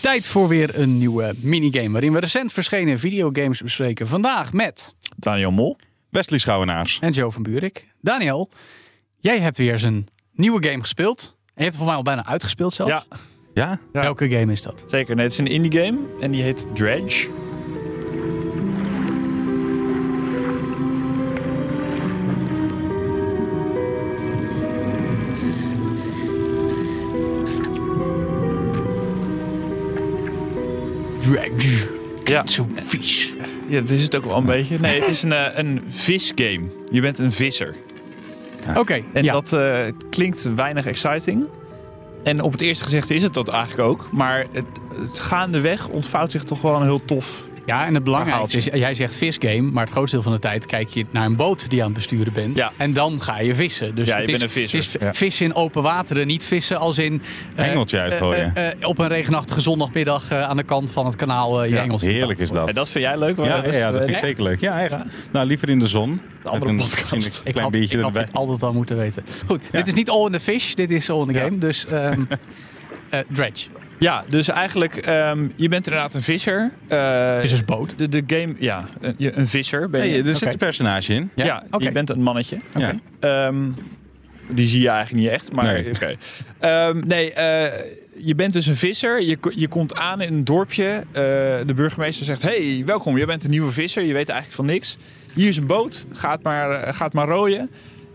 Tijd voor weer een nieuwe minigame waarin we recent verschenen videogames bespreken. Vandaag met Daniel Mol. Wesley Schouwenaars. en Joe van Buurik. Daniel, jij hebt weer eens een nieuwe game gespeeld. En je hebt het voor mij al bijna uitgespeeld zelfs. Ja, Ja? Ja. Welke game is dat? zeker. Nee, het is een indie game en die heet Dredge. Dredge. Ja, Zo vies. ja dat is het ook wel een beetje. Nee, het is een, eh, een visgame. Je bent een visser. Oké, En ja. dat eh, klinkt weinig exciting. En op het eerste gezicht is het dat eigenlijk ook. Maar het, het gaandeweg ontvouwt zich toch wel een heel tof. ja, en het belangrijkste is, Verhaaltje. jij zegt visgame, maar het grootste deel van de tijd kijk je naar een boot die je aan het besturen bent. Ja. En dan ga je vissen. Dus Ja, je het bent is, een visser. het is Ja. vissen in open wateren, niet vissen als in... eh, Hengeltje uitgooien. eh, eh, op een regenachtige zondagmiddag eh, aan de kant van het kanaal eh, je Ja, Engels. Heerlijk is dat. En dat vind jij leuk? Ja, ja, Wes? ja, dat vind ik Echt? zeker leuk. Ja, echt. Nou, liever in de zon. De andere podcast. Een Ik klein had, biertje ik had erbij. dit altijd al moeten weten. Goed, dit is niet all in the fish, dit is all in the game. Dus ehm eh, dredge. Ja, dus eigenlijk, ehm, je bent inderdaad een visser. Eh, Vissersboot. De, de game, ja, een, je- een visser ben je. Nee, er zit Oké. een personage in. ja, Ja, oké. je bent een mannetje. Ja. Ehm, die zie je eigenlijk niet echt, maar Nee. oké. Ehm, nee, eh, je bent dus een visser. Je, ko- je komt aan in een dorpje. Eh, de burgemeester zegt, hey, welkom, jij bent een nieuwe visser. Je weet eigenlijk van niks. Hier is een boot, gaat maar, eh, gaat maar rooien.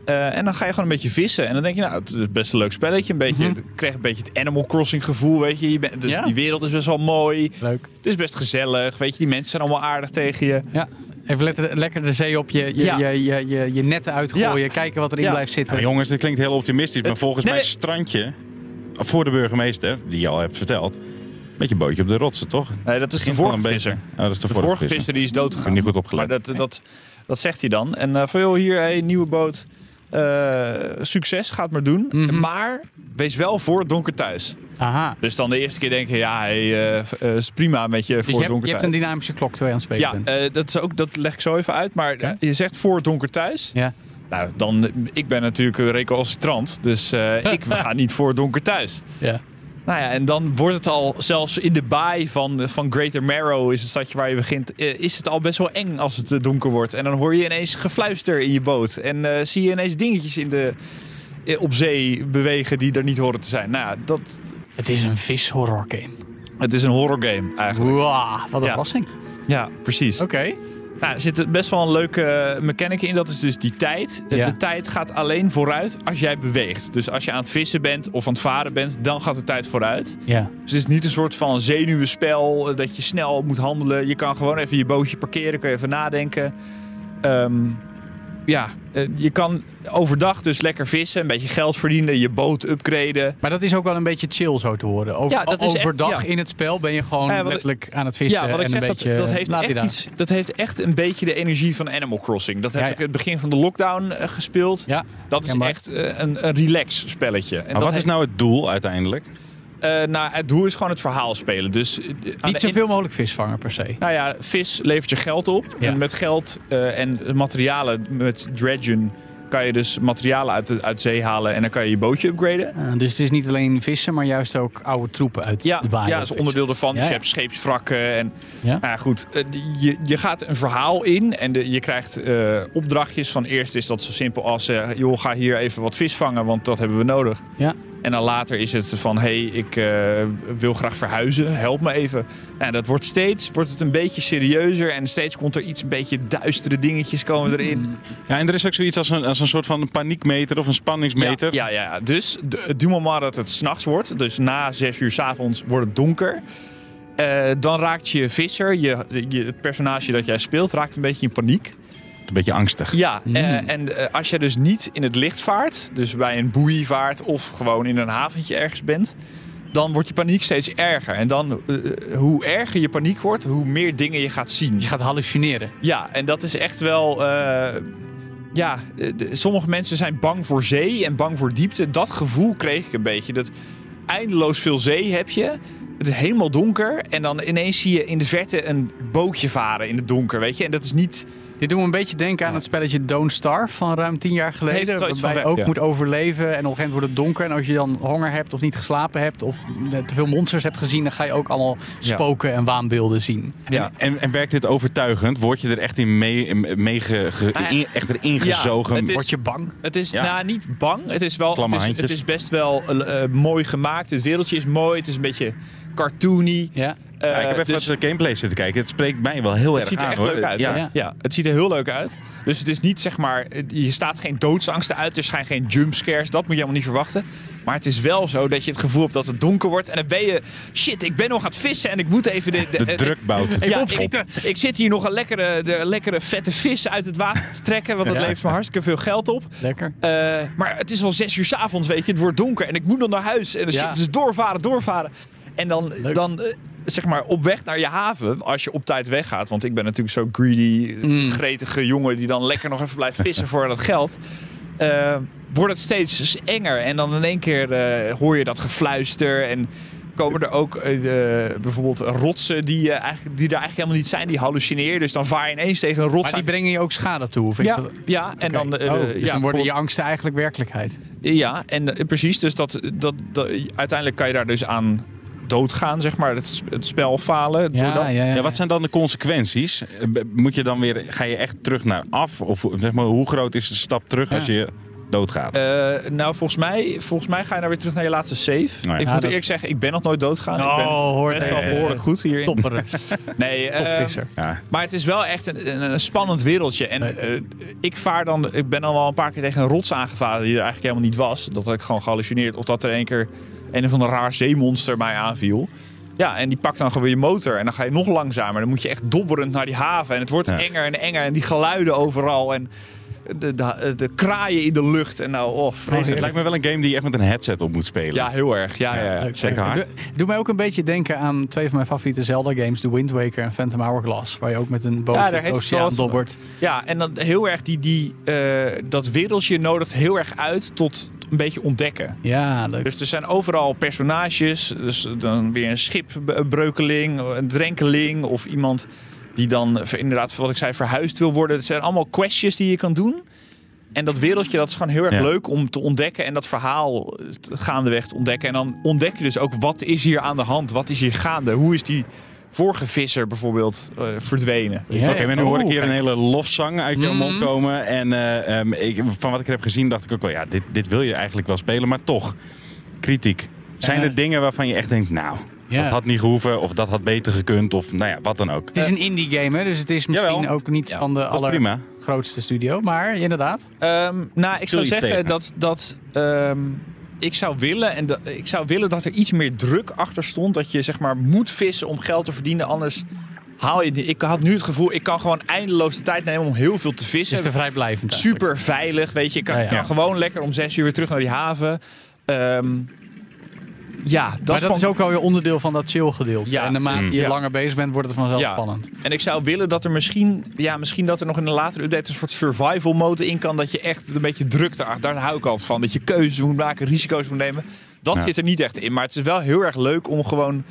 Eh, en dan ga je gewoon een beetje vissen. En dan denk je, nou, het is best een leuk spelletje. Een Mhm. beetje, Ik kreeg een beetje het Animal Crossing gevoel, weet je. je bent, dus Ja. Die wereld is best wel mooi. Leuk. Het is best gezellig, weet je. Die mensen zijn allemaal aardig tegen je. Ja. Even letter, lekker de zee op, je, je, Ja. je, je, je, je netten uitgooien, Ja. kijken wat erin Ja. blijft zitten. Nou, jongens, dit klinkt heel optimistisch, maar Het- volgens nee, mij nee. strandje voor de burgemeester, die je al hebt verteld, met je bootje op de rotsen, toch? Nee, Eh, dat is de Begint wel vorige visser. beetje- Oh, dat is de, De vorige, vorige visser. visser die is dood gegaan. niet goed opgelet. Maar dat, dat, dat zegt hij dan. En eh van joh, hier, hey, nieuwe boot. Eh, succes, gaat maar doen. Mhm. Maar wees wel voor het donker thuis. Aha. Dus dan de eerste keer denken, ja, hey, eh, v- eh, is prima met je voor Dus je het hebt, donker je hebt thuis. een dynamische klok terwijl je aan het spelen ja, bent. eh, dat, is ook, dat leg ik zo even uit. Maar Ja. eh, je zegt voor het donker thuis. ja. Nou, dan, eh, ik ben natuurlijk een recalcitrant. Dus eh, ik ga niet voor het donker thuis. ja. Nou ja, en dan wordt het al zelfs in de baai van, eh, van Greater Marrow, is het stadje waar je begint, eh, is het al best wel eng als het eh, donker wordt. En dan hoor je ineens gefluister in je boot. En eh, zie je ineens dingetjes in de, eh, op zee bewegen die er niet horen te zijn. Nou ja, dat, Het is een vishorror game. het is een horror game eigenlijk. Wow, wat een Ja. verrassing. Ja, precies. Oké. Nou, er zit best wel een leuke eh, mechanic in. Dat is dus die tijd. Eh, Ja. De tijd gaat alleen vooruit als jij beweegt. Dus als je aan het vissen bent of aan het varen bent, dan gaat de tijd vooruit. Ja. Dus het is niet een soort van zenuwenspel eh, dat je snel moet handelen. Je kan gewoon even je bootje parkeren, kun je even nadenken. Ehm, ja, eh, je kan overdag dus lekker vissen, een beetje geld verdienen, je boot upgraden. Maar dat is ook wel een beetje chill zo te horen. Over, Ja, dat is echt- overdag ja. in het spel ben je gewoon Ja, wat ik- letterlijk aan het vissen Ja, wat ik eh, en zeg, een dat, beetje... dat, heeft Laat die echt daar. iets, dat heeft echt een beetje de energie van Animal Crossing. Dat heb Ja, ik ja. het begin van de lockdown eh, gespeeld. Ja. Dat is Kenbaar. echt eh, een, een relax spelletje. En Maar dat wat is heeft- nou het doel uiteindelijk? eh, nou, het doel is gewoon het verhaal spelen. Dus, eh, aan de Niet zoveel mogelijk vis vangen per se. Nou ja, vis levert je geld op. Ja. En met geld eh, en materialen, met dredgen, kan je dus materialen uit, de, uit zee halen. En dan kan je je bootje upgraden. Ah, dus het is niet alleen vissen, maar juist ook oude troepen uit Ja, de baai. ja, dat is onderdeel ervan. Ja, Dus ja. je hebt scheepswrakken. En, Ja. Nou ja, goed, eh, die- je, je gaat een verhaal in en de, je krijgt eh, opdrachtjes. Van eerst is dat zo simpel als, eh, joh, ga hier even wat vis vangen, want dat hebben we nodig. Ja. En dan later is het van, hey, ik eh, wil graag verhuizen, help me even. Nou, dat wordt steeds, wordt het een beetje serieuzer en steeds komt er iets, een beetje duistere dingetjes komen erin. Ja, en er is ook zoiets als een, als een soort van paniekmeter of een spanningsmeter. Ja, ja, ja, ja. Dus d- het duur maar dat het s'nachts wordt, dus na zes uur s'avonds wordt het donker. Eh, dan raakt je visser, je, je, het personage dat jij speelt, raakt een beetje in paniek. Een beetje angstig. Ja, Hmm. eh, en eh, als jij dus niet in het licht vaart, dus bij een boei vaart of gewoon in een haventje ergens bent, dan wordt je paniek steeds erger. En dan, eh, hoe erger je paniek wordt, hoe meer dingen je gaat zien. Je gaat hallucineren. Ja, en dat is echt wel. eh, ja, eh, de- sommige mensen zijn bang voor zee en bang voor diepte. Dat gevoel kreeg ik een beetje. Dat eindeloos veel zee heb je. Het is helemaal donker. En dan ineens zie je in de verte een bootje varen in het donker, weet je. En dat is niet. Dit doet me een beetje denken aan het spelletje Don't Starve van ruim tien jaar Heeft geleden. het wel iets waarbij je van ook weg, moet overleven en op een gegeven moment wordt het donker. En als je dan honger hebt of niet geslapen hebt of eh, te veel monsters hebt gezien, dan ga je ook allemaal Ja. spoken en waanbeelden zien. Ja. En, en werkt dit overtuigend? Word je er echt in mee, mee ge- ge- Ah, ja. in- echt erin Ja, gezogen? het is- Word je bang? Het is Ja. nou, niet bang. Het is wel. Klamme Het is, handjes. het is best wel eh, eh, mooi gemaakt. Het wereldje is mooi. Het is een beetje cartoony. Ja. Eh, Ja, ik heb even dus- wat gameplay zitten kijken. Het spreekt mij wel heel erg Het ziet er aan, echt hoor. leuk uit. Ja. hè? Ja. het ziet er heel leuk uit. Dus het is niet zeg maar, je staat geen doodsangsten uit, er zijn geen jumpscares, dat moet je helemaal niet verwachten. Maar het is wel zo dat je het gevoel hebt dat het donker wordt en dan ben je, shit, ik ben nog aan het vissen en ik moet even de, De eh, druk bouwt. eh, Ja, ik, op. ik zit hier nog een lekkere, de, lekkere vette vis uit het water te trekken, want dat Ja. levert me hartstikke veel geld op. Lekker. Eh, maar het is al zes uur 's avonds, weet je. Het wordt donker en ik moet dan naar huis. En dan Ja. shit, dus doorvaren, doorvaren. En dan, Leuk. dan eh, zeg maar op weg naar je haven, als je op tijd weggaat. Want ik ben natuurlijk zo'n greedy, Mm. gretige jongen die dan lekker nog even blijft vissen voor dat geld. Eh, wordt het steeds enger. En dan in één keer eh, hoor je dat gefluister en... Komen er ook eh, de- bijvoorbeeld rotsen die, eh, eigenlijk, die er eigenlijk helemaal niet zijn, die hallucineer. je. Dus dan vaar je ineens tegen een rots Maar die aan. brengen je ook schade toe? Of is Ja, dat... ja, en Oké. dan, eh, Oh, dus eh, ja, dan worden bijvoorbeeld- je angsten eigenlijk werkelijkheid. ja, en eh, precies. Dus dat, dat, dat- uiteindelijk kan je daar dus aan doodgaan, zeg maar. Het, s- het spel falen. door dat. Ja, wat zijn dan de consequenties? Eh, b- Moet je dan weer, ga je echt terug naar af? Of hoe- zeg maar, hoe groot is de stap terug Ja. als je doodgaat? Eh, nou, volgens mij, volgens mij ga je nou weer terug naar je laatste save. Ik Ja, moet dat- eerlijk zeggen, ik ben nog nooit doodgaan. Ah, ik ben, Oh, hoor ben wel deze behoorlijk goed hierin. topperen. Nee, eh, Topvisser. ja. maar het is wel echt een, een, een spannend wereldje. En Nee. eh, ik vaar dan, ik ben dan wel een paar keer tegen een rots aangevaren die er eigenlijk helemaal niet was. Dat had ik gewoon gehallucineerd. Of dat er een keer een of ander raar zeemonster mij aanviel. Ja, en die pakt dan gewoon je motor. En dan ga je nog langzamer. Dan moet je echt dobberend naar die haven. En het wordt Ja. enger en enger. En die geluiden overal. En de, de, de kraaien in de lucht. En nou, oh, vreselijk. Het lijkt me wel een game die je echt met een headset op moet spelen. Ja, heel erg. Ja, ja, ja. Leuk. Zeker hard. Doe, doe mij ook een beetje denken aan twee van mijn favoriete Zelda-games, The Wind Waker en Phantom Hourglass, waar je ook met een boot Ja, ja, daar heeft het het oceaan wel wat- dobbert. Ja, en dan heel erg die, die, eh, dat wereldje nodigt heel erg uit tot een beetje ontdekken. Ja, leuk. Dus er zijn overal personages. Dus dan weer een schipbreukeling, een drenkeling of iemand die dan eh, inderdaad, wat ik zei, verhuisd wil worden. Het zijn allemaal questjes die je kan doen. En dat wereldje, dat is gewoon heel erg Ja. leuk om te ontdekken. En dat verhaal eh, t- gaandeweg te ontdekken. En dan ontdek je dus ook, wat is hier aan de hand? Wat is hier gaande? Hoe is die vorige visser bijvoorbeeld eh, verdwenen? Oké, maar nu hoor ik hier Oeh. een hele lofzang uit jouw Mhm. mond komen. En eh, ehm, ik, van wat ik er heb gezien dacht ik ook wel, ja, dit, dit wil je eigenlijk wel spelen, maar toch, kritiek. Zijn Ja. er dingen waarvan je echt denkt, nou, Eh. Ja. dat had niet gehoeven, of dat had beter gekund, of nou ja, wat dan ook. Het is een indie game, hè, dus het is misschien Jawel. ook niet Ja, van de Dat is prima. allergrootste studio, maar inderdaad. Ehm, nou, Zul ik zou je zeggen steken? dat, dat ehm, ik, zou willen, en dat, ik zou willen dat er iets meer druk achter stond. Dat je zeg maar moet vissen om geld te verdienen, anders haal je het niet. Ik had nu het gevoel, ik kan gewoon eindeloos de tijd nemen om heel veel te Het vissen. is te vrijblijvend. eigenlijk. Super veilig, weet je. Ik kan, Ja, ja. kan gewoon lekker om zes uur weer terug naar die haven. Ehm, ja, dat, maar dat vond- is ook wel weer onderdeel van dat chill gedeelte. Ja. En naarmate je Ja. langer bezig bent, wordt het vanzelf Ja. spannend. En ik zou willen dat er misschien, ja, misschien dat er nog in een latere update een soort survival mode in kan. Dat je echt een beetje druk erachter. Daar hou ik altijd van. Dat je keuzes moet maken, risico's moet nemen. Dat Ja. zit er niet echt in. Maar het is wel heel erg leuk om gewoon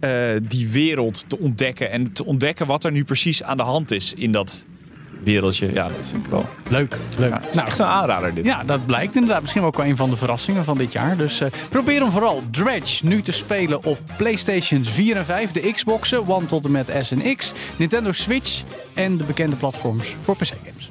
eh, die wereld te ontdekken. En te ontdekken wat er nu precies aan de hand is in dat wereldje. Ja, dat vind ik wel. Leuk, leuk. Ja, het is nou, echt een aanrader dit. Ja, dat blijkt inderdaad. Misschien ook wel een van de verrassingen van dit jaar. Dus eh, probeer hem vooral Dredge nu te spelen op PlayStation 4 en 5, de Xboxen, One tot en met S en X, Nintendo Switch en de bekende platforms voor PC-games.